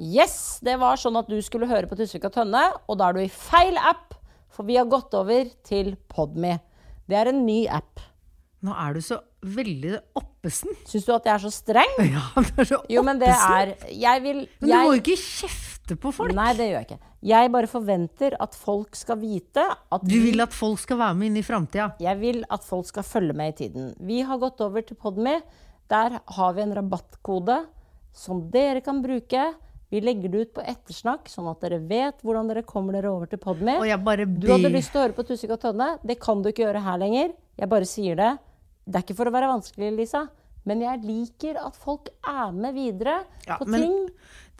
Yes, det var sånn at du skulle høre på Tusvik og Tønne, og da er du i feil app, for vi har gått over til Podme. Det er en ny app. Nå er du så veldig oppesen. Syns du at jeg er så streng? Ja, du er så oppesen. Jo, men det er Jeg vil Men du må jeg, jo ikke kjefte på folk. Nei, det gjør jeg ikke. Jeg bare forventer at folk skal vite at Du vil at folk skal være med inn i framtida. Jeg vil at folk skal følge med i tiden. Vi har gått over til Podme. Der har vi en rabattkode som dere kan bruke. Vi legger det ut på ettersnakk, sånn at dere vet hvordan dere kommer dere over til Podme. Og jeg bare Du hadde ber. lyst til å høre på Tusvik og Tønne. Det kan du ikke gjøre her lenger. Jeg bare sier det. Det er ikke for å være vanskelig, Lisa, men jeg liker at folk er med videre Ja, på men- ting.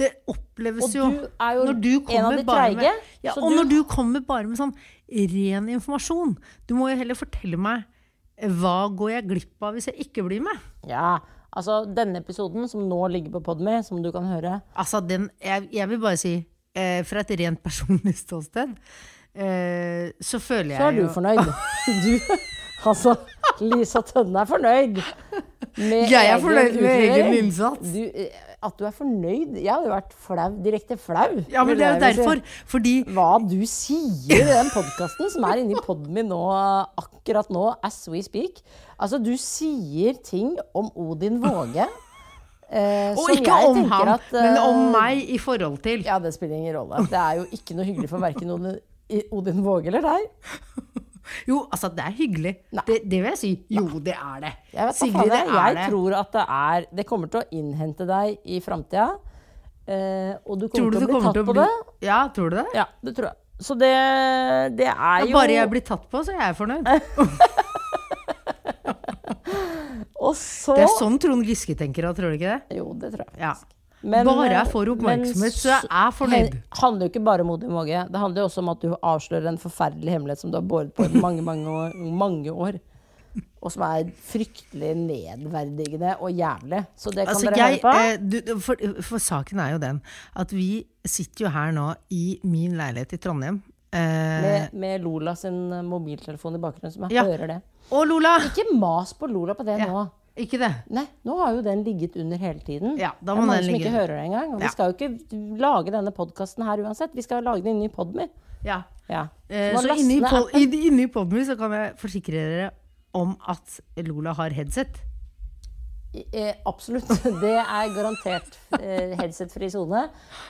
Det oppleves Og jo, du er jo når du en av kommer de bare treige, med, ja, så Og du- når du kommer bare med sånn ren informasjon Du må jo heller fortelle meg eh, hva går jeg glipp av hvis jeg ikke blir med? Ja, altså denne episoden som nå ligger på Podme, som du kan høre Altså, den, jeg, jeg vil bare si, eh, fra et rent personlig ståsted, eh, så føler jeg Så er du jo fornøyd. Du, altså, Lisa Tønne er fornøyd. med Jeg er egen fornøyd med utlevering. egen innsats. Du, eh, at du er fornøyd Jeg hadde jo vært flau, direkte flau. Ja, men ville det er jo jeg vel si. derfor. Fordi Hva du sier i den podkasten som er inni poden min nå, akkurat nå, as we speak. Altså, du sier ting om Odin Våge eh, Og som ikke jeg om tenker ham, at, eh, men om meg i forhold til. Ja, det spiller ingen rolle. Det er jo ikke noe hyggelig for verken Odin, Odin Våge eller deg. Jo, altså, det er hyggelig. Nei. Det, det vil jeg si. Jo, det er det. Jeg vet Sigrid, hva det faen, er jeg det. tror at det er Det kommer til å innhente deg i framtida. Eh, og du kommer Tror du til å det bli kommer tatt til å på bli det. Ja, tror du det? Ja, det tror jeg. Så det, det er Ja, jo bare jeg blir tatt på, så er jeg fornøyd. Og så Det er sånn Trond Giske tenker da, tror du ikke det? Jo, det tror jeg. Ja. Men, Bare jeg får oppmerksomhet, så jeg er fornøyd. Det handler jo ikke bare om Odin Våge. Det handler jo også om at du avslører en forferdelig hemmelighet som du har båret på i mange, mange år. Mange år. Og som er fryktelig nedverdigende og jævlig. Så det kan Altså, dere høre jeg, på. eh, du, for, for saken er jo den at vi sitter jo her nå i min leilighet i Trondheim. Eh, med, med Lola sin eh, mobiltelefon i bakgrunnen, som jeg Ja. hører det. og Lola! Ikke mas på Lola på det nå. Ikke det? Nei, nå har jo den ligget under hele tiden. Ja, det da må er mange den som ligge ikke under. hører det engang. Og Ja. vi skal jo ikke lage denne podkasten her uansett. Vi skal jo lage den inne i Podmy. Ja. Ja. Eh, man så laster inni, ned pod, inni, inni podmy så kan jeg forsikre dere om at Lola har headset. appen. Eh, absolutt. Det er garantert eh, headset-fri sone.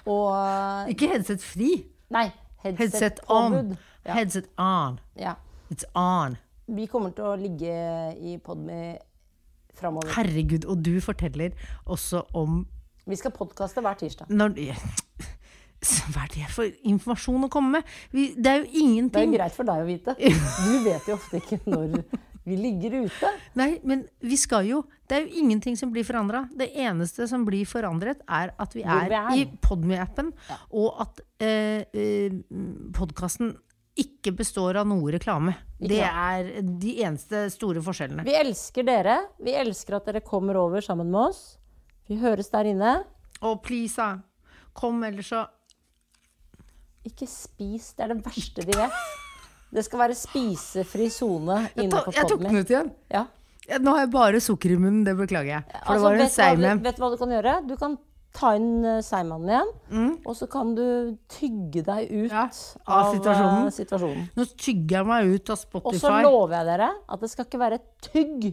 Og Ikke headset fri. Nei, Headset on. headset-påbud. Ja, Headset on. ja. It's on. Vi kommer til å ligge i Podmy framover. Herregud, og du forteller også om Vi skal podkaste hver tirsdag. når, Hva er det for informasjon å komme med? Vi, det er jo Det er ingenting. jo greit for deg å vite. Du vet jo ofte ikke når vi ligger ute. Nei, men vi skal jo Det er jo ingenting som blir forandra. Det eneste som blir forandret, er at vi Hvor er, vi i Podmy-appen, og at eh, eh, podkasten ikke består av noe reklame. Det er de eneste store forskjellene. Vi elsker dere. Vi elsker at dere kommer over sammen med oss. Vi høres der inne. Og please, da. Kom, ellers så Ikke spis. Det er det verste de vet. Det skal være spisefri sone Jeg inne tok på jeg tok podden den min. ut igjen. Ja. Ja, Nå har jeg bare sukker i munnen, det beklager jeg. For Altså, vet det var en du hva seig du- en. Vet du hva du kan gjøre? Du kan ta inn eh, seigmannen igjen. Og så kan du tygge deg ut Mm. Ja, av, av eh, situasjonen. situasjonen. Nå tygger jeg meg ut av Og så Spotify. lover jeg dere at det skal ikke være tygg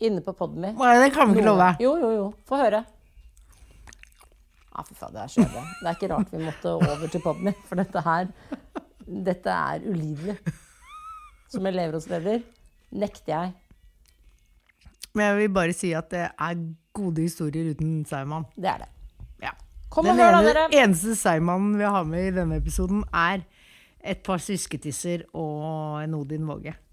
inne på podden min. Nei, det kan vi ikke love. Jo, jo, jo. Få høre. Ah, Ja, fy faen, det er skjøvet. Det er ikke rart vi måtte over til Podmy, for dette her Dette er ulidelig. Som elevrådsleder nekter jeg. Men jeg vil bare si at det er gode historier uten Seigmann. Det er det. Ja. Kom Den og hør, da, ene, dere. eneste seigmannen vi har med i denne episoden, er et par svisketisser og en Odin Våge.